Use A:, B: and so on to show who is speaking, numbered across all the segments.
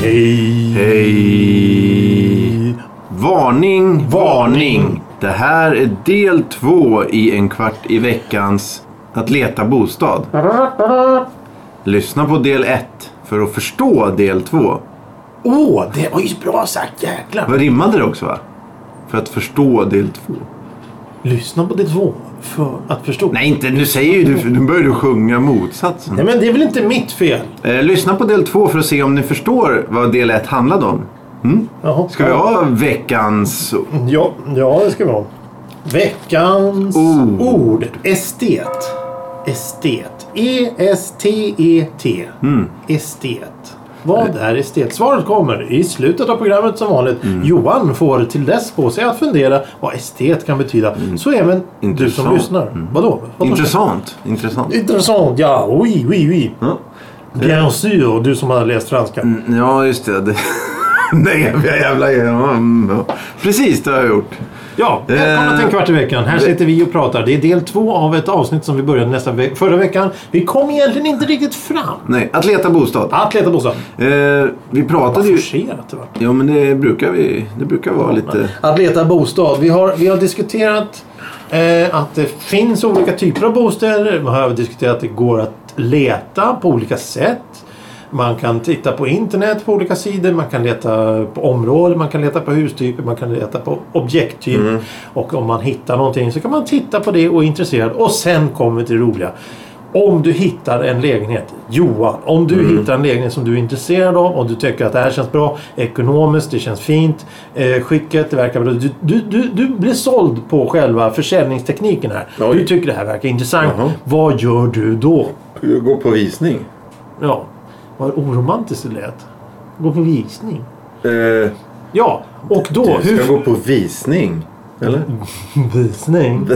A: Hej!
B: Hej! Varning, varning! Det här är del två i en kvart i veckans Att leta bostad. Lyssna på del ett för att förstå del två.
A: Åh, det var ju bra sagt jäklar.
B: Vad rimmade det också va? För att förstå del två.
A: Lyssna på det två för att förstå.
B: Nej, inte nu säger ju du, för nu börjar du sjunga motsatsen.
A: Nej, men det är väl inte mitt fel?
B: Eh, lyssna på del två för att se om ni förstår vad del ett handlade om.
A: Jaha.
B: Ska vi ha veckans...
A: Ja, ja det ska vi ha. Veckans
B: Ord.
A: ord. Estet. Estet. E E-S-T-E-T. E
B: Mm.
A: Estet. Vad är estet? Svaret kommer i slutet av programmet som vanligt.
B: Mm.
A: Johan får till dess på sig att fundera vad estet kan betyda. Så även du som
B: Mm. Intressant. Mm.
A: lyssnar. Vadå? Vad
B: Intressant. Intressant.
A: Intressant, ja. Oui, oui, oui.
B: Ja. Mm.
A: Bien sûr, du som har läst franska.
B: Ja, just det. det... Nej, jag jävla... ja, mm, ja. Precis, det har jag gjort.
A: Ja, välkomna
B: Eh,
A: till en kvart i veckan. Här sitter vi och pratar. Det är del två av ett avsnitt som vi började nästa ve- förra veckan. Vi kom egentligen inte riktigt fram.
B: Nej, att leta bostad.
A: Att leta bostad.
B: Eh, vi
A: Vad
B: pratade ju...
A: forcerat det var.
B: Ja, men det brukar vi... Det brukar vara lite...
A: Att leta bostad. Vi har, vi har diskuterat eh, att det finns olika typer av bostäder. Vi har diskuterat att det går att leta på olika sätt. Man kan titta på internet på olika sidor. Man kan leta på områden. Man kan leta på hustyper. Man kan leta på objekttyp. Och om man hittar någonting så kan man titta på det och är intresserad. Och sen kommer det roliga. Om du hittar en lägenhet, Johan, om du
B: Mm.
A: hittar en lägenhet som du är intresserad av och du tycker att det här känns bra ekonomiskt, det känns fint, eh, skicket, det verkar bra. Du, du, du, du blir såld på själva försäljningstekniken här.
B: Oj.
A: Du tycker det här verkar intressant.
B: Jaha.
A: Vad gör du då?
B: Gå på visning.
A: Ja, vad oromantiskt det lät. Gå på visning.
B: Eh,
A: Ja, och då... hur...
B: på visning. Eller?
A: Visning?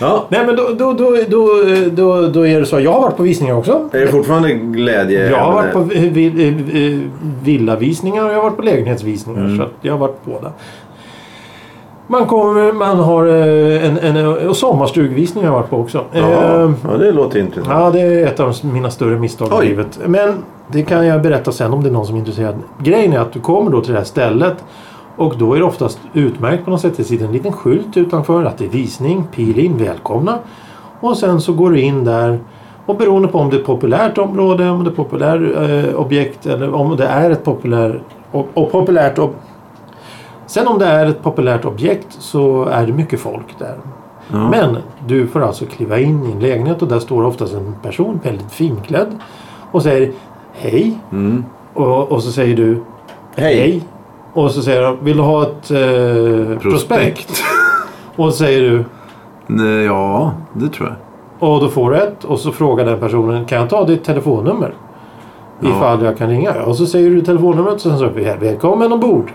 B: Ja.
A: Nej men då, då, då, då, då, då är det så. Jag har varit på visningar också.
B: Är det fortfarande glädje?
A: Jag har varit på vi- vi- eh, villavisningar och jag har varit på lägenhetsvisningar. Så att jag har varit på båda. Man kommer, man har eh, en, en och sommarstugvisningar har jag varit på också. Eh,
B: det låter intressant.
A: Ja, det är ett av mina större misstag i
B: Oj.
A: livet. Men det kan jag berätta sen om det är någon som är intresserad. Grejen är att du kommer då till det här stället och då är det oftast utmärkt på något sätt. Det sitter en liten skylt utanför att det är visning, pil in, välkomna. Och sen så går du in där och beroende på om det är ett populärt område, om det är populärt eh, objekt eller om det är ett populär, och, och populärt ob- Sen om det är ett populärt objekt så är det mycket folk där. Men du får alltså kliva in i en lägenhet och där står oftast en person väldigt finklädd och säger hej. Och, och så säger du Mm. hej. Och så säger de vill du ha ett eh, prospekt? Och så säger du
B: Nej, ja, det tror jag.
A: och då får du ett och så frågar den personen kan jag ta ditt telefonnummer? Ifall jag kan ringa. Och så säger du telefonnumret och sen så säger vi välkommen ombord.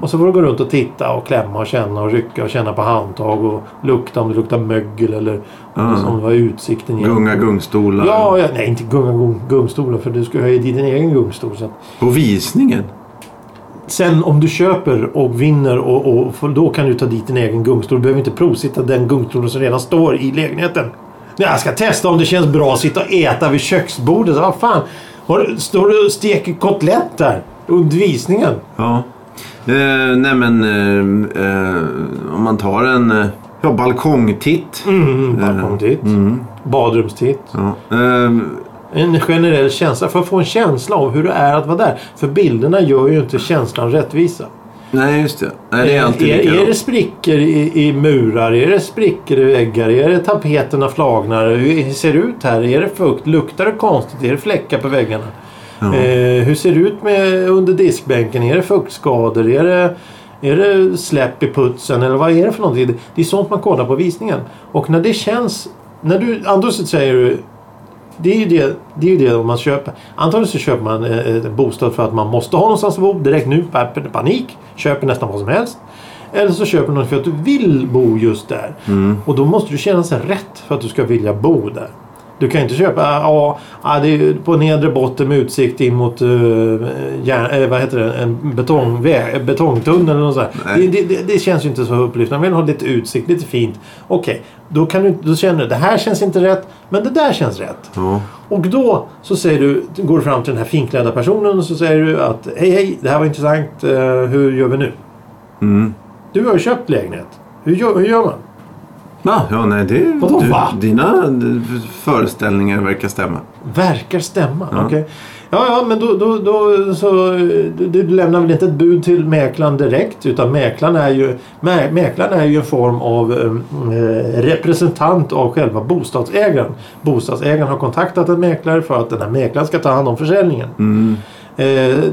A: Och så får du gå runt och titta och klämma och känna och rycka och känna på handtag och lukta om det luktar mögel eller om det- om det var utsikten. igen.
B: Gunga gungstolar.
A: Ja, ja, nej inte gunga gung, gungstolen för du ska höja din egen gungstol. Så att.
B: På visningen?
A: Sen om du köper och vinner och, och får- då kan du ta dit din egen gungstol. Du behöver inte provsitta den gungstolen som redan står i lägenheten. Nej, Jag ska testa om det känns bra att sitta och äta vid köksbordet. Så, Vad fan, har, du- står du och steker kotlett där under visningen?
B: Ja. Eh, nej men eh, eh, om man tar en eh, ja, balkongtitt.
A: Mm, balkongtitt. Badrumstitt.
B: Ja. Eh,
A: En generell känsla. För att få en känsla av hur det är att vara där. För bilderna gör ju inte känslan rättvisa.
B: nej just det. Nej, det är alltid
A: Eh, är, är det
B: likadant.
A: sprickor i, i murar? Är det sprickor i väggar? Är det tapeterna flagnar? Hur ser det ut här? Är det fukt? Luktar det konstigt? Är det fläckar på väggarna? Eh, hur ser det ut med, under diskbänken? Är det fuktskador? Är det, är det släpp i putsen? Eller vad är det för någonting? Det, det är sånt man kollar på visningen. Och när det känns... När du, Anders säger du det är ju det, det, är ju det om man köper. Antagligen så köper man eh, en bostad för att man måste ha någonstans att bo direkt nu. pa- Panik. Köper nästan vad som helst. Eller så köper någon för att du vill bo just där. Och då måste du känna sig rätt för att du ska vilja bo där. Du kan ju inte köpa... ah, Ja, ja, det är ju på nedre botten med utsikt in mot eh, järn, eh, vad heter det? en betongväg, en betongtunnel eller något sånt. där. Det,
B: Nej.
A: det, det, det känns ju inte så upplyftande. Man vill ha lite utsikt, lite fint. Okej, då, kan du, då känner du det här känns inte rätt, men det där känns rätt.
B: Ja.
A: Och då så säger du, går du fram till den här finklädda personen och så säger du att hej hej, det här var intressant, eh, hur gör vi nu?
B: Mm.
A: Du har ju köpt lägenhet. Hur gör, hur gör man?
B: Ja, ja, nej, det,
A: Vadå, va?
B: dina eh, föreställningar verkar stämma.
A: Verkar stämma. Okej. Ja, ja, men då, då, då så... eh, Du, du lämnar väl inte ett bud till mäklaren direkt utan mäklaren är ju, mä, mäklaren är ju en form av eh, eh, representant av själva bostadsägaren. Bostadsägaren har kontaktat en mäklare för att den här mäklaren ska ta hand om försäljningen.
B: Mm.
A: Eh,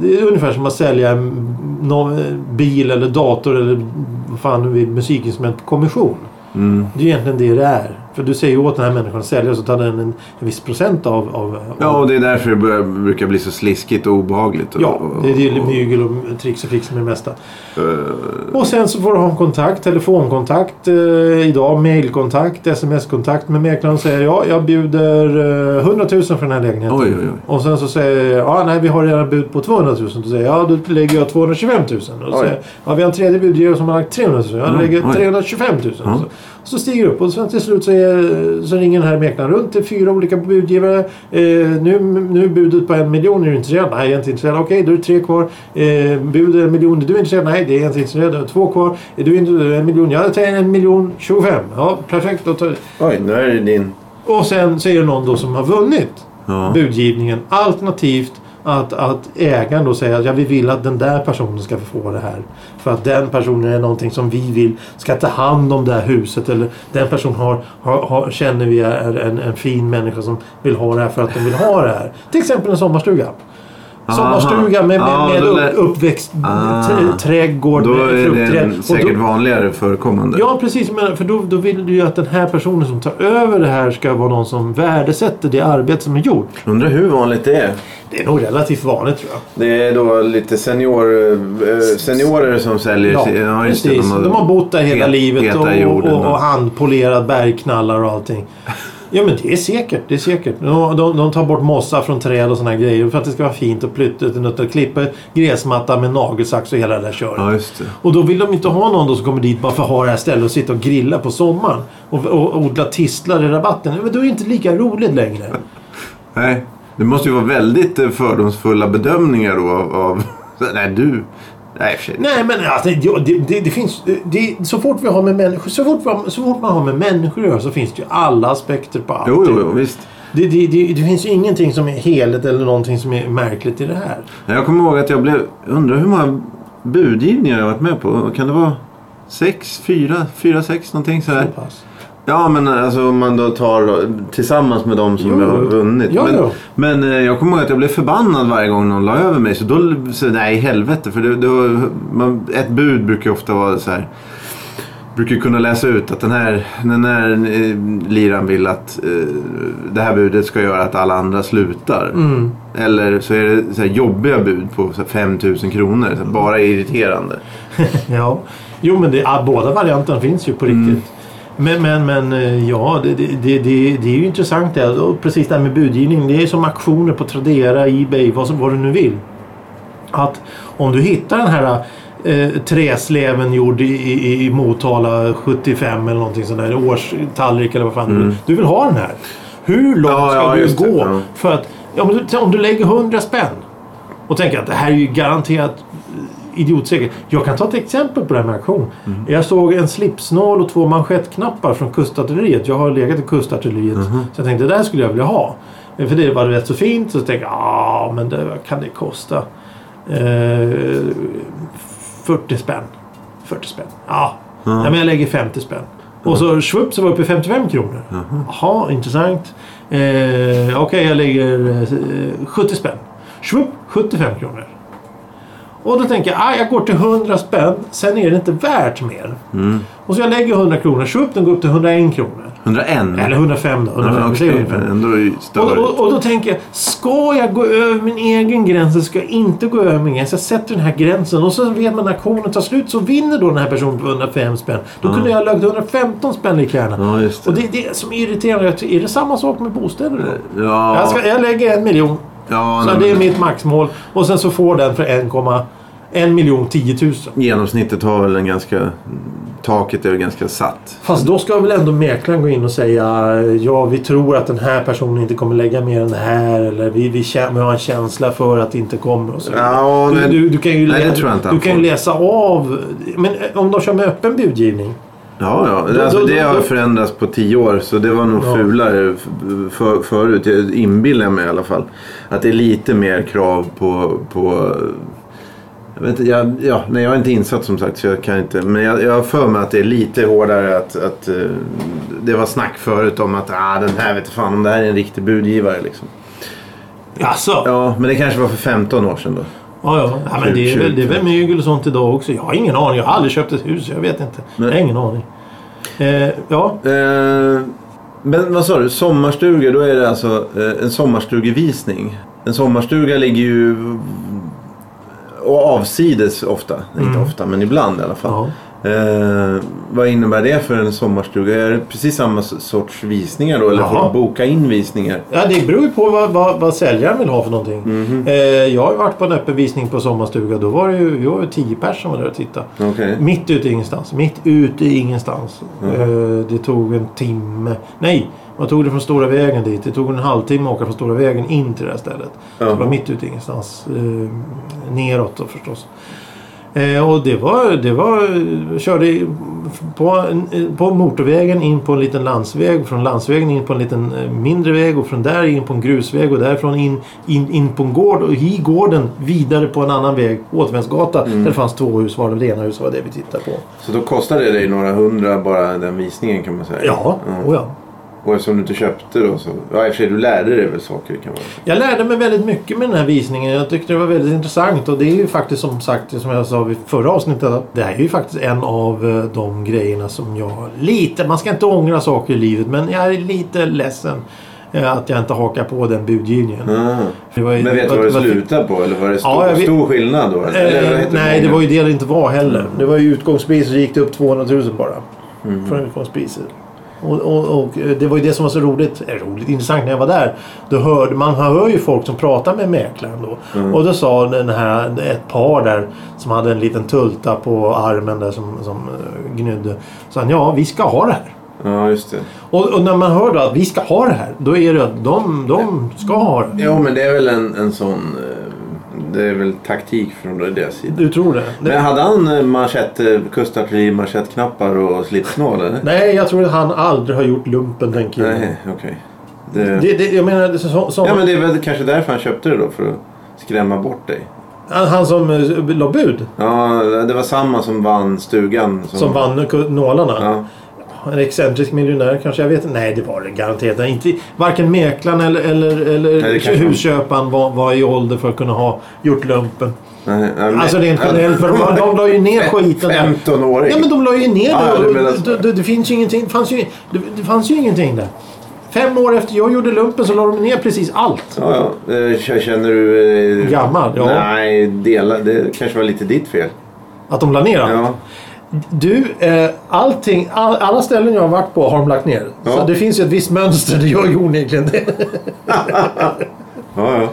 A: det är ungefär som att sälja en- någon eh, bil eller dator eller vad fan nu vill, musikinstrument på kommission.
B: Mm.
A: Det är egentligen det det är. För du säger ju åt den här människan att sälja och så tar den en, en viss procent av... av
B: Ja, och det är därför det börjar, brukar bli så sliskigt och obehagligt. Och,
A: Ja, det är ju
B: och-
A: mygel och tricks och fix med det mesta.
B: och, eh,
A: Och sen så får du ha en kontakt, telefonkontakt eh, idag, mailkontakt, sms-kontakt med mäklaren och säger ja, jag bjuder eh, 100 000 för den här lägenheten.
B: Oj, oj, oj.
A: Och sen så säger jag, ja nej vi har redan bud på 200 000. Då säger jag, ja då lägger jag 225 000. Och så
B: Oj.
A: säger jag, ja vi har en tredje budgivare som har lagt 300 000. Jag
B: Mm,
A: lägger
B: oj. Mm.
A: 325 000. Så, så stiger det upp och sen till slut så, är, så ringer den här mäklaren runt till fyra olika budgivare. Eh, nu, nu är budet på en miljon, är du intresserad? Nej, jag är inte intresserad. Okej, då är det tre kvar. Eh, bud är en miljon, är du intresserad? Nej, det är jag inte intresserad. Det är två kvar. Är du intresserad? En miljon? Ja, jag tar en miljon 25. Ja, perfekt. Då tar...
B: Oj, nu är det din...
A: Och sen så är det någon då som har vunnit
B: Ja.
A: budgivningen. Alternativt att, att ägaren då säger att ja, vi vill att den där personen ska få det här. För att den personen är någonting som vi vill ska ta hand om det här huset. Eller den personen har, har, har, känner vi är en, en fin människa som vill ha det här för att den vill ha det här. Till exempel en sommarstuga. Sommarstuga med, med,
B: Ja,
A: med
B: då
A: upp,
B: lä-
A: uppväxt,
B: Ah.
A: tr- trädgård
B: Då
A: med
B: är
A: fruktträd.
B: den
A: Och
B: säkert
A: då-
B: vanligare förekommande.
A: Ja, precis. Men för då, då vill du ju att den här personen som tar över det här ska vara någon som värdesätter det arbete som är gjort.
B: Undrar hur vanligt det är.
A: Det är nog relativt vanligt tror jag.
B: Det är då lite senior, eh, seniorer som säljer. just det,
A: precis. De har bott där hela
B: pet-
A: livet
B: petar
A: och,
B: jorden
A: och, och
B: och-
A: handpolerat bergknallar och allting. Ja men det är säkert. Det är säkert. De, de, de tar bort mossa från träd och såna här grejer för att det ska vara fint och pluttigt. och nött. De klipper gräsmatta med nagelsax och hela det där köret.
B: Ja, just det.
A: Och då vill de inte ha någon då som kommer dit bara för att ha det här stället och sitta och grilla på sommaren. Och, och odla tistlar i rabatten. Men då är det inte lika roligt längre.
B: Nej. Det måste ju vara väldigt eh, fördomsfulla bedömningar då av... av nej, du... Nej, i och för sig.
A: Nej men alltså, det, det, det, det finns... Det, så fort vi har med människor så fort, man- så fort man har med människor att göra så finns det ju alla aspekter på allt.
B: Jo, jo, jo, visst.
A: Det, det, det, det finns ju ingenting som är heligt eller någonting som är märkligt i det här.
B: Jag kommer ihåg att jag blev... Undrar hur många budgivningar jag har varit med på. Kan det vara sex, fyra, fyra, sex någonting sådär?
A: Så pass.
B: Ja, men alltså om man då tar då, tillsammans med de som
A: Jo,
B: har
A: jo.
B: vunnit.
A: Ja,
B: men,
A: ja.
B: men eh, jag kommer ihåg att jag blev förbannad varje gång någon la över mig. Så då, så, nej helvete. För det, det, var- man, ett bud brukar ju ofta vara så här. Brukar ju kunna läsa ut att den här, den här eh, liran vill att eh, det här budet ska göra att alla andra slutar.
A: Mm.
B: Eller så är det så här jobbiga bud på så här 5 000 kronor. Så här, bara irriterande.
A: Ja. Jo men det, ah, båda varianterna finns ju på
B: Mm.
A: riktigt. Men, men, men eh, ja, det, det, det, det, det är ju intressant det. här. Och precis det här med budgivning. Det är som auktioner på Tradera, Ebay, vad, som- vad du nu vill. Att om du hittar den här eh, träsleven gjord i, i, i Motala 75 eller någonting sånt där. Årstallrik eller vad fan du vill. Du vill ha den här. Hur långt
B: Mm. Ja,
A: ska
B: ja,
A: du
B: just det.
A: gå?
B: Ja.
A: För att ja, men du- om du lägger 100 spänn och tänker att det här är ju garanterat idiotsäkert. Jag kan ta ett exempel på det här med auktion. Jag såg en slipsnål och två manschettknappar från kustartilleriet. Jag har legat i kustartilleriet. Så jag tänkte det där skulle jag vilja ha. Eh, För det var rätt så fint. Så tänkte jag ah, men det, vad kan det kosta? Eh, 40 spänn. 40 spänn. Ja. Nej, men jag lägger 50 spänn. Och så svupp så var jag uppe i 55 kronor. Jaha, intressant. Eh, Okej, jag lägger eh, 70 spänn. Svupp, 75 kronor. Och då tänker jag, ah, jag går till 100
B: Mm.
A: spänn. Sen är det inte värt mer. Och så jag lägger 100 kronor. Svupp, den går upp till 101 kronor.
B: 101?
A: Eller 105 då. 105, vi säger
B: Mm. Okej, Mm.
A: 105.
B: ändå är det
A: Och,
B: större.
A: och, och då tänker jag, ska jag gå över min egen gräns eller ska jag inte gå över min gräns? Jag sätter den här gränsen och så vet man när auktionen tar slut så vinner då den här personen på 105 spänn. Då kunde jag ha lagt 115 spänn lika gärna.
B: Mm. Ja, just det.
A: Och det är det som är irriterande. Jag tycker, Är det samma sak med bostäder då?
B: Ja,
A: Jag, ska, jag lägger en miljon.
B: ja
A: Så
B: nej,
A: det är
B: men
A: mitt maxmål. Och sen så får den för 1,1 miljon 10 000.
B: Genomsnittet har väl en ganska... Taket är väl ganska satt.
A: Fast då ska väl ändå mäklaren gå in och säga ja vi tror att den här personen inte kommer lägga mer än det här eller vi, vi, kä- vi har en känsla för att det inte kommer och så vidare.
B: Ja,
A: du,
B: nej.
A: du, du kan ju,
B: Nej,
A: lä-
B: det tror jag inte
A: du
B: han
A: kan ju
B: får.
A: läsa av. Men eh, om de kör med öppen budgivning.
B: Ja, ja. Alltså,
A: då-
B: det
A: då-
B: har
A: då-
B: förändrats på tio år så det var nog
A: Ja.
B: fulare f- för, förut. Jag inbillar mig i alla fall. Att det är lite mer krav på... på jag vet inte, jag, ja, nej, jag är inte insatt som sagt så jag kan inte. Men jag, jag har för mig att det är lite hårdare att... att eh, det var snack förut om att ah, den här vet du fan om det här är en riktig budgivare. Liksom.
A: Alltså. Ja,
B: Ja, men det kanske var för 15 år sedan då.
A: ja. ja men det är, väl, det är väl
B: Tjugo.
A: mögel och sånt idag också. Jag har ingen aning. Jag har aldrig köpt ett hus. Jag vet inte.
B: Nej.
A: Jag har ingen aning. Eh, ja.
B: Eh, men vad sa du? Sommarstugor, då är det alltså eh, en sommarstugevisning. En sommarstuga ligger ju och avsides ofta. Inte ofta, men ibland i alla fall.
A: Mm. ja.
B: Eh, vad innebär det för en sommarstuga? Är det precis samma s- sorts visningar då? Eller får
A: Jaha.
B: de boka in visningar?
A: Ja, det beror ju på vad, vad, vad säljaren vill ha för någonting. Eh, jag har ju varit på en öppen visning på sommarstuga. Då var det ju, vi var ju tio personer som var där och tittade.
B: Okej.
A: Mitt ute i ingenstans. Mitt ute i ingenstans. Eh, det tog en timme. Nej, man tog det från Stora vägen dit. Det tog en halvtimme att åka från Stora vägen in till det här stället. Så det var
B: Jaha.
A: mitt ute i ingenstans. Eh, neråt då förstås. Eh, och det var, det var... Körde i- på, en- eh, på motorvägen in på en liten landsväg. Från landsvägen in på en liten eh, mindre väg. Och från där in på en grusväg. Och därifrån in, in, in på en gård. Och i gården vidare på en annan väg. Återvändsgata. Där det fanns två hus. Var det ena huset var det vi tittade på.
B: Så då kostar det dig några hundra bara den visningen kan man säga.
A: Ja,
B: Mm.
A: oh ja.
B: Och eftersom du inte köpte då så... Ja, i och för sig du lärde dig väl saker kan man säga.
A: Jag lärde mig väldigt mycket med den här visningen. Jag tyckte det var väldigt intressant. Och det är ju faktiskt som sagt, som jag sa vid förra avsnittet. att Det här är ju faktiskt en av eh, de grejerna som jag lite... Man ska inte ångra saker i livet. Men jag är lite ledsen eh, att jag inte hakar på den budgivningen.
B: Mm.
A: Det var ju-
B: Men vet du vad det
A: var-
B: slutade på? Eller var det stor,
A: Ja, jag vet-
B: stor skillnad då? Eller,
A: Eh,
B: vad heter
A: nej, det var ju det det inte var heller.
B: Mm.
A: Det var ju utgångspris så gick det upp 200 000 bara. Från utgångspriset. Och, och, och eh, det var ju det som var så roligt, eh, roligt intressant när jag var där. Då hörde, man hör ju folk som pratar med mäklaren då.
B: Mm.
A: Och då sa den här, ett par där som hade en liten tulta på armen där som, som eh, gnydde. Sa han, ja vi ska ha det här.
B: Ja, just det.
A: Och, och när man hör då att vi ska ha det här. Då är det att de, de ska ha det.
B: Jo, men det är väl en, en sån... eh, Det är väl taktik från deras sida.
A: Du tror det? det
B: Men hade han eh, manschett, eh, kustartilleri, manschettknappar och slipsnål eller?
A: nej, jag tror att han aldrig har gjort lumpen den killen.
B: Nej, okej. Det-
A: Det, det, jag menar, det- så, så,
B: Ja, men det är väl kanske därför han köpte det då. För att skrämma bort dig.
A: han, han som eh, la bud,
B: Ja, det var samma som vann stugan.
A: som vann ku- nålarna.
B: Mm. Ja.
A: En excentrisk miljonär kanske, jag vet inte. Nej, det var det garanterat inte. Varken mäklaren eller, eller, eller
B: Nej, det kanske man-
A: husköparen var, var i ålder för att kunna ha gjort lumpen.
B: Nej, nej, men-
A: Alltså rent generellt, för de, de la ju ner skiten där.
B: 15-åring.
A: Ja, men de la ju ner
B: Ja,
A: det.
B: ja,
A: och
B: du menar så.
A: det, det, det, finns ju ingenting, det, fanns ju, det, det fanns ju ingenting där. Fem år efter jag gjorde lumpen så la de ner precis allt.
B: Ja, ja. Eh, k- Känner du... eh,
A: Gammal, ja.
B: Nej, dela, det kanske var lite ditt fel.
A: Att de la ner allt.
B: Ja.
A: Du, eh, allting, all, alla ställen jag har varit på har de lagt ner.
B: Ja.
A: Så det finns ju ett visst mönster. Det gör ju onekligen det.
B: Ja, ja.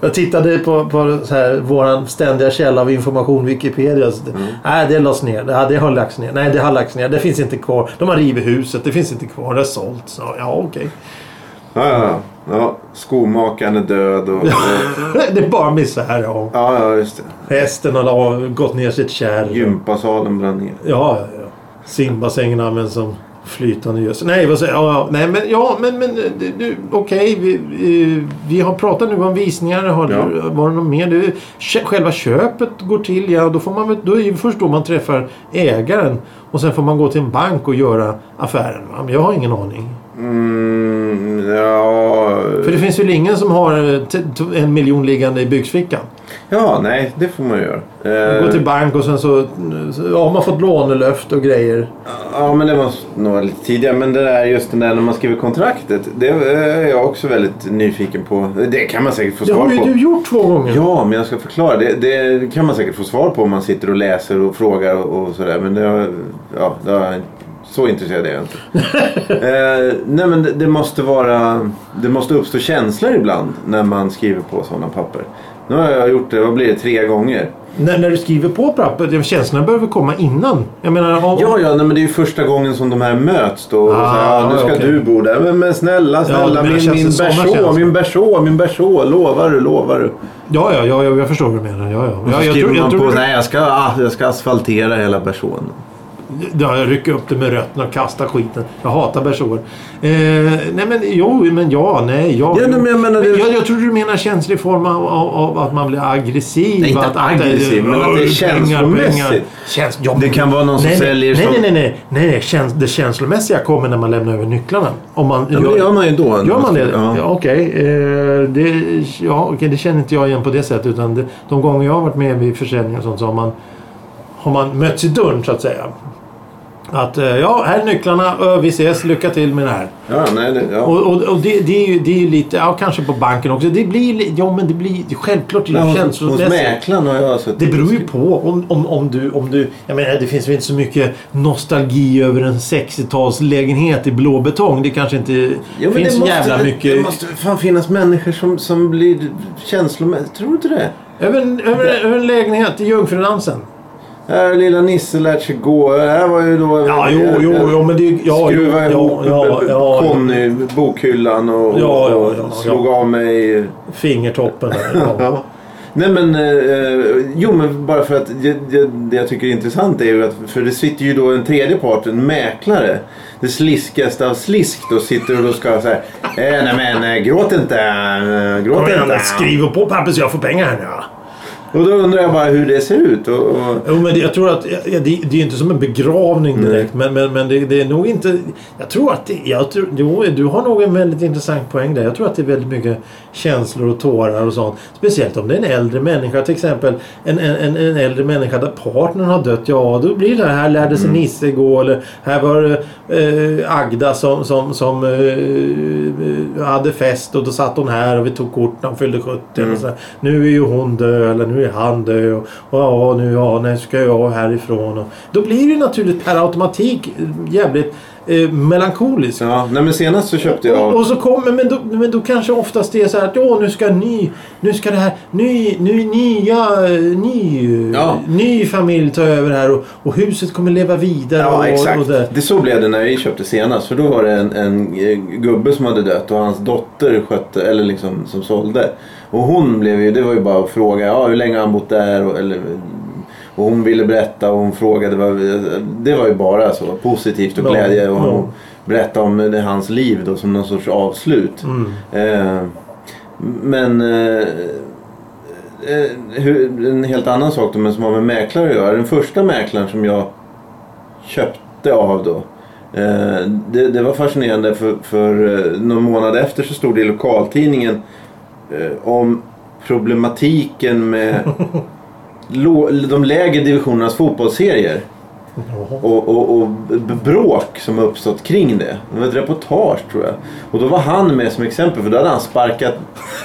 A: Jag tittade på, på så här, våran ständiga källa av information, Wikipedia. Så det, Nej, det lades ner. Det, det har lagts ner. Nej, det har lagts ner. Det finns inte kvar. De har rivit huset. Det finns inte kvar. Det har sålts. Så, ja, okej.
B: ja, ja, ja. ja skomakaren är död och...
A: det är bara misär. Ja.
B: Ja, ja, just det.
A: Hästen har la- gått ner sitt kärr. Ja,
B: Gympasalen brann ner.
A: ja, ja. Simbassängen används som flytande gödsel. Nej, vad säger jag? Ja, ja. Nej, men, ja, men, men eh, det- du, okej. vi, eh, vi har pratat nu om visningar. Har du,
B: Ja.
A: Var det något mer? Du, kö- själva köpet går till. Ja, då får man, väl- då är det först då man träffar ägaren. Och sen får man gå till en bank och göra affären. Va? Men jag har ingen aning.
B: Mm, Ja,
A: För det finns väl ingen som har eh, t- t- en miljon liggande i byxfickan?
B: ja, nej, det får man göra.
A: Man
B: Eh,
A: går till bank och sen så, så ja, man har fått lånelöft och grejer.
B: Eh, Ja, men det var nog lite tidigare. Men det där just den där när man skriver kontraktet. Det eh, är jag också väldigt nyfiken på. Det kan man säkert få
A: Det
B: svar
A: har ju
B: på.
A: du gjort två gånger.
B: Ja, men jag ska förklara. Det, det kan man säkert få svar på om man sitter och läser och frågar och, och sådär. Men det, har- ja, det har jag inte- så intresserad är jag inte. eh, nej, men det, det måste vara... Det måste uppstå känslor ibland när man skriver på sådana papper. Nu har jag gjort det, vad blir det, tre gånger.
A: När, när du skriver på pappret, känslorna behöver komma innan. Jag menar, om,
B: Ja, ja, nej, men det är ju första gången som de här möts då. Och så här,
A: Ah,
B: ja, nu ska
A: okej.
B: du bo där. Men, men snälla, snälla,
A: men det
B: min,
A: känns
B: min
A: som sådana
B: berså,
A: känslor.
B: min berså, min berså. Lovar du, lovar du.
A: ja, ja, ja, ja, jag förstår vad du menar. Ja, ja.
B: Och så
A: Ja, jag,
B: skriver
A: tror, jag,
B: man på,
A: tror,
B: nej, jag ska, ah, jag ska asfaltera hela bersån.
A: ja, jag rycker upp det med rötterna och kastar skiten. Jag hatar bersår. Eh, nej men jo, men ja, nej, ja.
B: Ja, nej, men jag menar det-
A: jag, jag tror du menar känslor i form av, av, av att man blir aggressiv.
B: Nej, inte
A: att, att det-
B: aggressiv, men att det är känslomässigt.
A: pengar, pengar. Käns, ja,
B: Det kan vara någon som
A: nej,
B: säljer
A: Nej,
B: som-
A: nej, nej. nej, nej, nej käns, det känslomässiga kommer när man lämnar över nycklarna. Om man
B: Ja, men det gör man ju då.
A: Gör man det?
B: Ja.
A: Ja. Okej, eh, det, ja, okej, det känner inte jag igen på det sättet. Utan det, de gånger jag har varit med vid försäljning och sånt så har man, har man mötts i dörren så att säga. Att eh, ja, här är nycklarna. Ö, vi ses. Lycka till med det här.
B: Ja, nej, det, ja.
A: Och, och, och det, det, är ju, det är ju lite, ja kanske på banken också. Det blir, li- ja men det blir självklart det är
B: Men
A: ju
B: hos, hos
A: känslomässigt.
B: mäklaren har jag alltså suttit
A: Det beror
B: och
A: ju
B: skrivit.
A: på om, om, om, du, om du... Jag menar det finns väl inte så mycket nostalgi över en 60-talslägenhet i blå betong. Det kanske inte
B: Jo, men
A: finns
B: det
A: så
B: måste,
A: jävla
B: väl-
A: mycket...
B: Det måste väl fan finnas människor som, som blir känslomässiga. Tror du inte det?
A: Över en, över, över en lägenhet i Jungfrudansen.
B: Här har Äh, lilla Nisse lärt sig gå. Det här var ju då... Äh,
A: Ja, jo, jo, jo, men det är... Ja, jo,
B: Skruva
A: ja,
B: ihop
A: ja, ja,
B: Conny, bokhyllan och,
A: Ja, ja,
B: och
A: ja,
B: slog av mig.
A: fingertoppen där. Ja.
B: Ja. Nej men, eh, jo men bara för att jag, jag, det jag tycker är intressant är ju att, för det sitter ju då en tredje part, en mäklare. Det sliskigaste av slisk då sitter och då ska så här, eh, nej men eh, gråt inte, eh, gråt
A: Kom igen,
B: inte.
A: skriv på papper så jag får pengar här nu. ja.
B: Och då undrar jag bara hur det ser ut. Och, och,
A: Jo, men det, jag tror att... Ja, det, det är ju inte som en begravning direkt. Men, men, men det, det är nog inte... Jag tror att det... Jag tror, jo, du har nog en väldigt intressant poäng där. Jag tror att det är väldigt mycket känslor och tårar och sånt. Speciellt om det är en äldre människa. Till exempel en, en, en, en äldre människa där partnern har dött. Ja, då blir det här lärde
B: Mm.
A: sig Nisse gå. Eller här var det eh, Agda som, som, som eh, hade fest och då satt hon här och vi tog kort när hon fyllde 70.
B: Mm.
A: Och så här, nu är ju hon död eller nu är han död. Och, och ja, nu ja, när ska jag härifrån? Och, då blir det naturligt per automatik eh, jävligt eh, melankoliskt.
B: ja, nej men senast så köpte jag...
A: Och, och så kommer, men då, men då kanske oftast det är så här att ja, nu ska ny, nu ska det här, ny, ny, nya, eh, ny,
B: Ja.
A: ny familj ta över här och, och huset kommer leva vidare. och,
B: Ja, exakt.
A: Och det.
B: Det så blev det när vi köpte senast. För då var det en, en eh, gubbe som hade dött och hans dotter skötte, eller liksom som sålde. Och hon blev ju, det var ju bara att fråga, ja hur länge har han bott där? Och, eller, och hon ville berätta och hon frågade. Vad, det var ju bara så positivt och
A: Ja,
B: glädje. Och
A: ja.
B: hon berättade om det, hans liv då som någon sorts avslut. Eh, men... Eh, Eh, hur, en helt annan sak då, men som har med mäklare att göra. Den första mäklaren som jag köpte av då. Eh, det, det var fascinerande för, för eh, någon månad efter så stod det i lokaltidningen eh, om problematiken med lo, de lägre divisionernas fotbollsserier. Och, och, och b- bråk som har uppstått kring det. Det var ett reportage tror jag. Och då var han med som exempel för då hade han sparkat,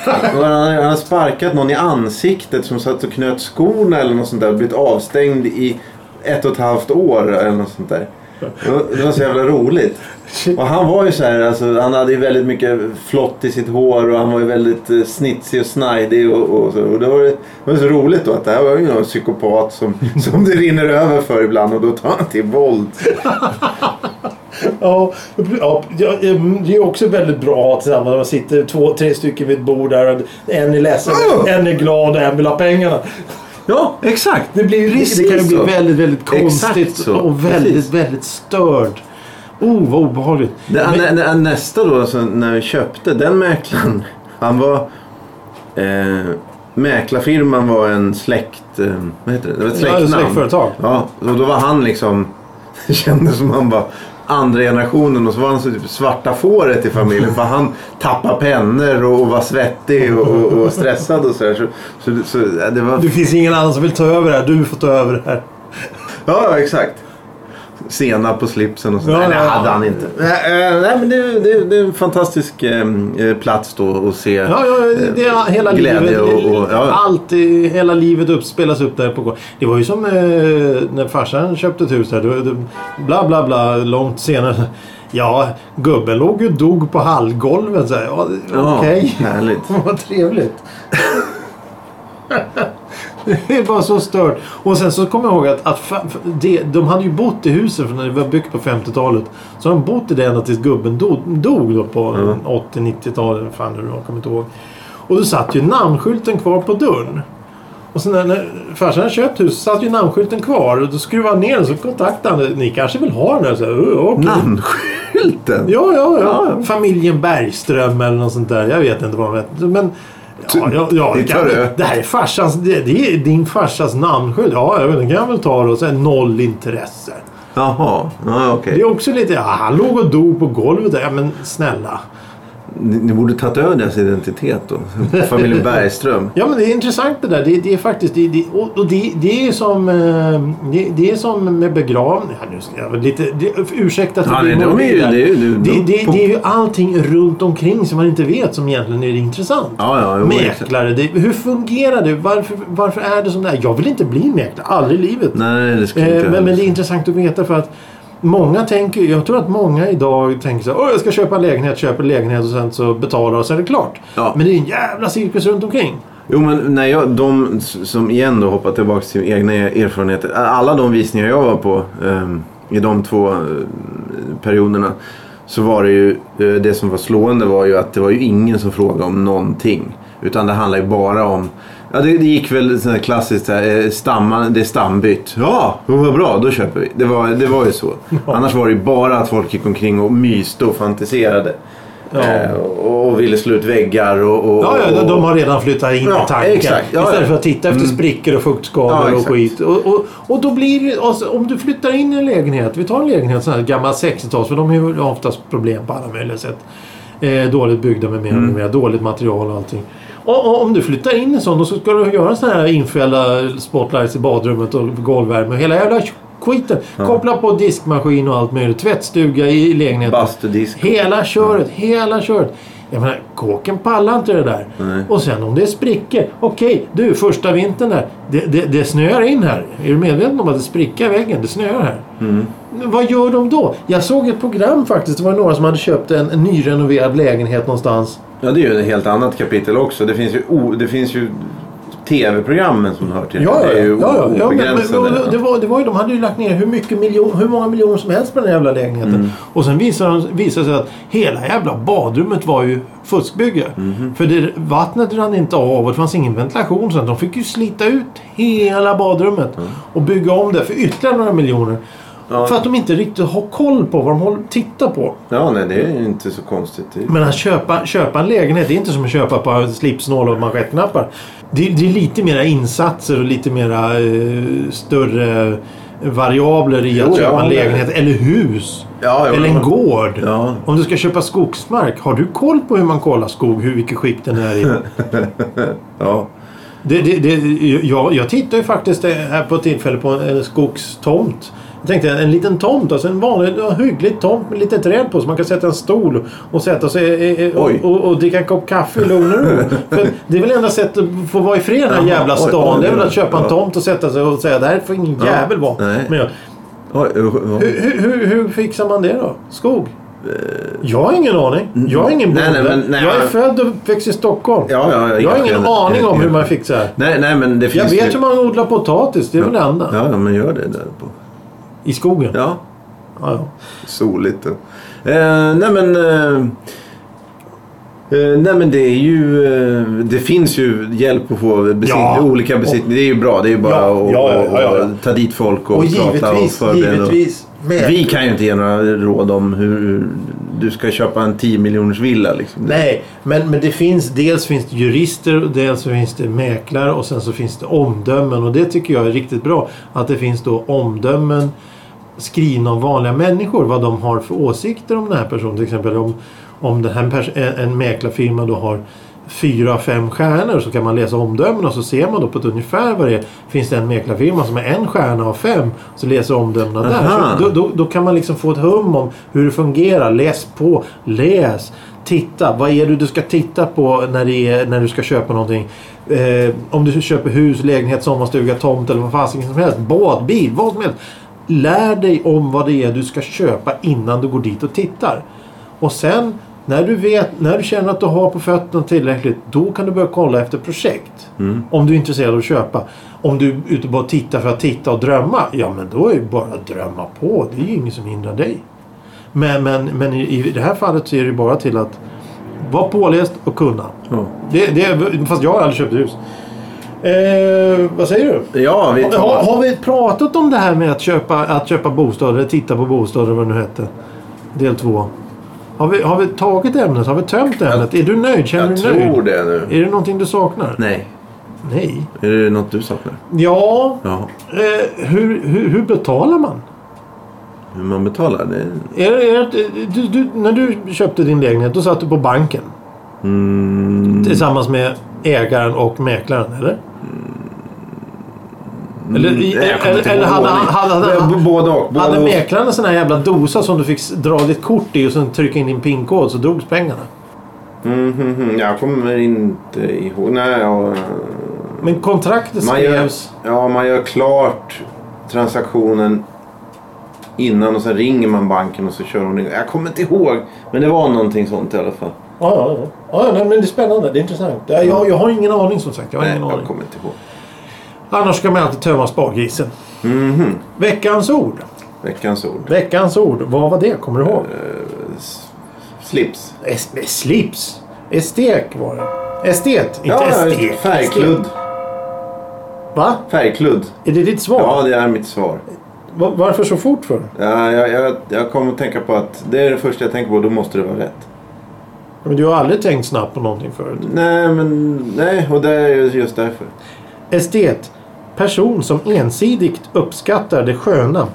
B: då hade han han hade sparkat någon i ansiktet som satt och knöt skorna eller något sånt där. Blivit avstängd i ett och ett halvt år eller något sånt där. Det var- Det var så jävla roligt. Och han var ju så här, alltså, han hade ju väldigt mycket flott i sitt hår och han var ju väldigt eh, snitsig och snajdig och, och så. Och det var, ju- det var så roligt då att det här var ju någon psykopat som, som det rinner över för ibland och då tar han till våld.
A: Ja, ja, ja, mm, det är också väldigt bra att ha tillsammans. Man sitter två, tre stycken vid ett bord där. och En är ledsen,
B: Ja.
A: en är glad och en vill ha pengarna.
B: Ja, exakt.
A: Det blir ju risk. Det kan ju
B: Precis
A: bli
B: så.
A: väldigt, väldigt
B: Exakt
A: konstigt
B: så.
A: och väldigt,
B: Precis.
A: väldigt störd. Oh, vad obehagligt.
B: Det,
A: Men-
B: nä, nä, nästa då, alltså, när vi köpte, den mäklaren, han var... Eh, mäklarfirman var en släkt... Eh, vad heter det? Det var ett
A: Ja, ett
B: släktnamn.
A: släktföretag.
B: Ja, och då var han liksom... Det kändes som han bara... andra generationen och så var han så typ svarta fåret i familjen för han tappade pennor och, och var svettig och, och, och stressad och sådär. Så, så, så ja, det var...
A: Det finns ingen annan som vill ta över det här. Du får ta över det här.
B: Ja, exakt. Sena på slipsen och sånt.
A: Ja,
B: nej,
A: ja.
B: det hade han inte. Nej, eh, nej, men det, det, det är en fantastisk eh, plats då att se.
A: Ja, ja det är hela
B: Glädje och-
A: livet.
B: och- ja.
A: Allt, eh, hela livet upp, spelas upp där på gården. Det var ju som eh, när farsan köpte ett hus där. Det, var- det, bla bla bla, långt senare. Ja, gubben låg ju och dog på hallgolvet. Så här. Ja,
B: Ja,
A: Okej,
B: Härligt.
A: vad trevligt. Det är bara så stört. Och sen så kommer jag ihåg att, att fa- f- det, de hade ju bott i huset från när det var byggt på 50-talet. Så de bott i det ända tills gubben dog, dog då på 80-90-talet. Fan nu, jag kommer inte ihåg. Och då satt ju namnskylten kvar på dörren. Och sen när, när farsan hade köpt huset satt ju namnskylten kvar. Och då skruvade han ner den så kontaktade han. Ni kanske vill ha den här? Så här, "Ö, okej."
B: Namnskylten?
A: Ja, ja, ja. Familjen Bergström eller något sånt där. Jag vet inte vad de heter. Men, ja, ja, ja,
B: Det
A: det, kan,
B: tar du.
A: det här är farsans, det, det är din farsas namnskylt. Ja, jag vet, den kan jag väl ta då. Sen noll intresse.
B: Jaha, ja, okej.
A: Det är också lite, ja, han låg och dog på golvet där. Ja, men snälla.
B: Ni, ni borde tagit över deras identitet då. Familjen Bergström.
A: Ja, men det är intressant det där. Det, det är faktiskt, det, det, och och det, det är som, eh, det, det är som med begravning. Ja, nu ska jag väl lite, det, ursäkta att
B: Ja,
A: blir
B: nej, de är ju-
A: morbid där.
B: det är ju- de-
A: det,
B: de-
A: det, det är ju allting runt omkring som man inte vet som egentligen är det intressant.
B: Ja, ja, jo, exakt.
A: Mäklare, det, hur fungerar det? Varför, varför är det som det är? Jag vill inte bli mäklare, aldrig i livet.
B: Nej, det ska inte
A: eh, men, men det är
B: hända.
A: intressant att veta för att många tänker, jag tror att många idag tänker så här, "Åh, jag ska köpa en lägenhet, köper en lägenhet och sen så betalar och sen är det klart.
B: Ja.
A: Men det är en jävla cirkus runt omkring.
B: Jo men när jag, de som igen då hoppar tillbaka till egna erfarenheter. Alla de visningar jag var på ehm, i de två eh, perioderna. Så var det ju, eh, det som var slående var ju att det var ju ingen som frågade om någonting. Utan det handlade ju bara om, ja det, det gick väl sådär klassiskt så här, eh, stamman, det är stambytt. Ja, vad bra, då köper vi. Det var, det var ju så. Annars var det ju bara att folk gick omkring och myste och fantiserade.
A: Ja.
B: Eh, och, och ville slå ut väggar och... och
A: Ja, ja, de har redan flyttat in
B: Ja,
A: i tanken.
B: exakt. Ja,
A: istället
B: ja. Mm.
A: för att titta efter sprickor och
B: Ja,
A: fuktskador och
B: exakt.
A: skit. Och, och, och då blir det, alltså, om du flyttar in i en lägenhet. Vi tar en lägenhet, sån här gammal 60-tals, för de har ju oftast problem på alla möjliga sätt. Eh, dåligt byggda med mer
B: Mm.
A: och mer, dåligt material och allting. Och, och om du flyttar in i en sån, då så ska du göra såna här infällda spotlights i badrummet och golvvärme och hela jävla skiten. Koppla på diskmaskin och allt möjligt. Tvättstuga i lägenheten.
B: Bastudisk.
A: Hela köret, hela köret. Jag menar, kåken pallar inte det där. Och sen om det är sprickor. Okej, du, första vintern där. Det, det, det snöar in här. Är du medveten om att det sprickar i väggen? Det snöar här. Vad gör de då? Jag såg ett program faktiskt. Det var några som hade köpt en, en nyrenoverad lägenhet någonstans.
B: Ja, det är ju ett helt annat kapitel också. Det finns ju, o, det finns ju tv-programmen som hör till det. Det är ju
A: ja, ja, men, men,
B: obegränsade.
A: och det, var, det var ju, De hade ju lagt ner hur, mycket miljon, hur många miljoner som helst på den här jävla lägenheten.
B: Mm.
A: Och sen visade, de- visade det sig att hela jävla badrummet var ju fuskbygge.
B: Mm-hmm.
A: För det, vattnet rann inte av och det fanns ingen ventilation. Så de fick ju slita ut hela badrummet
B: Mm.
A: och bygga om det för ytterligare några miljoner. För att de inte riktigt har koll på vad de håller, tittar på.
B: Ja, nej, det är ju inte så konstigt. Det...
A: Men att köpa, köpa en lägenhet, det är inte som att köpa på slipsnål och manschettknappar. Det, det är lite mera insatser och lite mera eh, större variabler i att
B: Jo,
A: köpa
B: ja,
A: en
B: det-
A: lägenhet eller hus.
B: Ja, jo,
A: eller en
B: men-
A: gård.
B: Ja.
A: Om du ska köpa skogsmark, har du koll på hur man kollar skog? Hur, vilket skick den är i?
B: Ja.
A: Det, det, det, jag, jag tittade ju faktiskt eh, här på ett tillfälle på en skogstomt. Jag tänkte en liten tomt, alltså en vanlig ja, hygglig tomt med lite träd på så man kan sätta en stol och sätta sig eh, eh, och,
B: Oj.
A: och, och, dricka en kopp kaffe i lugn och ro. För Det är väl enda sättet att få vara i fred i den här
B: Jaha,
A: jävla
B: oj,
A: stan.
B: oj,
A: det är väl
B: oj,
A: att köpa en
B: alltså, ja.
A: tomt och sätta sig och säga det här får ingen jävel vara.
B: nej.
A: Men jag,
B: Oj, oj, oj.
A: hur, hur- hur, hur fixar man det då? Skog? Jag har ingen aning. Jag är ingen bonde.
B: nej, nej, men- nej,
A: jag är
B: men-
A: född och uppväxt i Stockholm.
B: Ja, ja, ja,
A: jag har ingen
B: jag-
A: aning
B: jag-
A: om hur
B: jag-
A: man fixar.
B: Nej, nej, men det
A: Jag
B: finns
A: vet
B: ju...
A: hur man odlar potatis, det är väl det enda.
B: Ja, ja, men gör det där på.
A: I skogen. Ja.
B: Ja,
A: Ja,
B: soligt. och- Eh, nej, men... Eh... Eh, nej men det är ju... Eh, det finns ju hjälp att få besitt,
A: Ja.
B: olika besittningar. Det är ju bra. Det är ju bara
A: Ja,
B: att
A: ja, ja, ja, ja.
B: att ta dit folk och,
A: Och
B: prata och
A: givetvis,
B: förbereda.
A: givetvis. Med.
B: Vi kan ju inte ge några råd om hur, hur du ska köpa en 10 miljoners villa. Liksom.
A: Nej, men, men det finns dels finns det jurister, och dels så finns det mäklare och sen så finns det omdömen och det tycker jag är riktigt bra. Att det finns då omdömen skrivna av vanliga människor. Vad de har för åsikter om den här personen. Till exempel om, om den här pers- en- en mäklarfirma då har fyra, fem stjärnor så kan man läsa omdömen och så ser man då på ett ungefär vad det är. Finns det en mäklarfirma som är en stjärna av fem så läser omdömena där.
B: Aha.
A: Så då, då, då kan man liksom få ett hum om hur det fungerar. Läs på, läs, titta. Vad är det du ska titta på när, det är, när du ska köpa någonting? Eh, om du köper hus, lägenhet, sommarstuga, tomt eller vad fasiken som helst. Båt, bil, vad som helst. Lär dig om vad det är du ska köpa innan du går dit och tittar. Och sen när du, vet, när du känner att du har på fötterna tillräckligt då kan du börja kolla efter projekt. Om du är intresserad av att köpa. Om du är ute bara och tittar för att titta och drömma. Ja men då är det bara att drömma på. Det är ju ingen som hindrar dig. Men, men, men i, i det här fallet så är det bara till att vara påläst och kunna.
B: Ja.
A: Det, det, fast jag har aldrig köpt hus. Eh, vad säger du?
B: Ja, vi
A: Har,
B: tar...
A: har vi pratat om det här med att köpa, att köpa bostad eller titta på bostad eller vad det nu hette? Del två. Har vi, har vi tagit ämnet? Har vi tömt ämnet? Är du nöjd? Känner
B: Jag
A: du dig
B: tror
A: nöjd?
B: det nu.
A: Är det någonting du saknar?
B: Nej.
A: Nej.
B: Är det något du saknar?
A: Ja,
B: Ja.
A: eh, hur, hur, hur betalar man?
B: Hur man betalar? Det...
A: Är det, är det, du, du, när du köpte din lägenhet då satt du på banken
B: Mm,
A: tillsammans med ägaren och mäklaren, eller? Eller,
B: Mm, nej, jag
A: eller,
B: kommer inte
A: eller,
B: ihåg
A: hade, han-
B: ordning.
A: hade, hade,
B: Nej, b- Både och. Både
A: Hade
B: och.
A: mäklaren en sån här jävla dosa som du fick s- dra ditt kort i och sen trycka in din pinkod så drogs pengarna?
B: Mm, mm, mm. Jag kommer inte ihåg. Nej, ja. eh,
A: Men kontraktet
B: man, gör,
A: skrevs...
B: ja, man gör klart transaktionen innan och sen ringer man banken och så kör hon igång. Jag kommer inte ihåg. Men det var någonting sånt i alla fall.
A: Ja, ja, ja. ja nej, men det är spännande. Det är intressant. Ja, Jag, jag har ingen aning som sagt. Jag har
B: Nej,
A: ingen aning.
B: jag kommer inte ihåg.
A: Annars ska man alltid tömma spargrisen.
B: Mhm.
A: Veckans ord.
B: Veckans ord.
A: Veckans ord. Vad var det? Kommer du ihåg?
B: S- Slips.
A: Es- slips. Estek var det. Estet. Inte
B: Ja,
A: estek.
B: färgkludd.
A: Estet. Va?
B: Färgkludd.
A: Är det ditt svar?
B: Ja, det är mitt svar.
A: Va- Varför så fort för?
B: Ja, jag, jag, jag kommer att tänka på att det är det första jag tänker på. Då måste det vara rätt.
A: Men du har aldrig tänkt snabbt på någonting förut.
B: Nej, men nej. Och det är ju just därför.
A: Estet. Person som ensidigt uppskattar det sköna.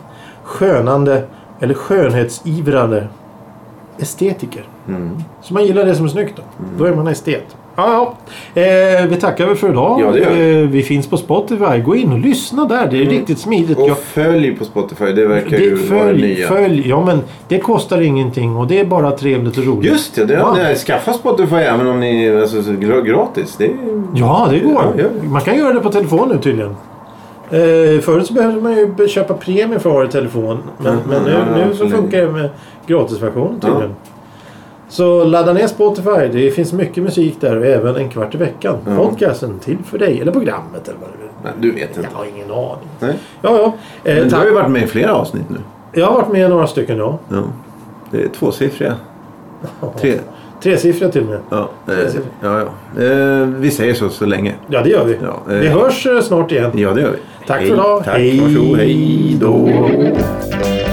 A: Skönande eller skönhetsivrande estetiker.
B: Mm.
A: Så man gillar det som är snyggt då. Då är man estet. Ja, ja. Eh, vi tackar väl för idag.
B: Ja, det gör vi. Mm.
A: eh, vi finns på Spotify. Gå in och lyssna där. Det är riktigt smidigt.
B: Och
A: Jag-
B: följ på Spotify. Det verkar ju
A: det,
B: vara det
A: följ,
B: nya.
A: följ. Ja, men det kostar ingenting och det är bara trevligt och roligt.
B: Just det, det
A: Ja.
B: ja. skaffa Spotify även om ni alltså, så gr- gratis. Det är...
A: Ja, det går.
B: Ja, ja.
A: Man kan göra det på telefon nu tydligen. Eh, förut så behövde man ju köpa premie för att ha det i telefon. Men,
B: Mhm,
A: men nu,
B: ja, ja,
A: nu så
B: absolut.
A: funkar det med gratisversionen
B: Ja.
A: tydligen. Så ladda ner Spotify. Det finns mycket musik där och även en kvart i veckan.
B: Ja.
A: Podcasten till för dig. Eller programmet eller vad det nu
B: Nej, du vet
A: är. Jag
B: inte.
A: har ingen aning.
B: Nej.
A: Ja, ja. Eh,
B: Men du
A: tack.
B: har ju varit med i flera avsnitt nu.
A: Jag har varit med i några stycken ja.
B: Ja. Det är tvåsiffriga. Tre.
A: Tresiffriga till och med.
B: Ja, eh, ja, ja. Eh, vi säger så så länge.
A: Ja, det gör vi.
B: Ja, eh.
A: Vi hörs eh, snart igen.
B: Ja, det gör vi.
A: Tack
B: Hej.
A: för idag.
B: Tack, varsågod. Hej då.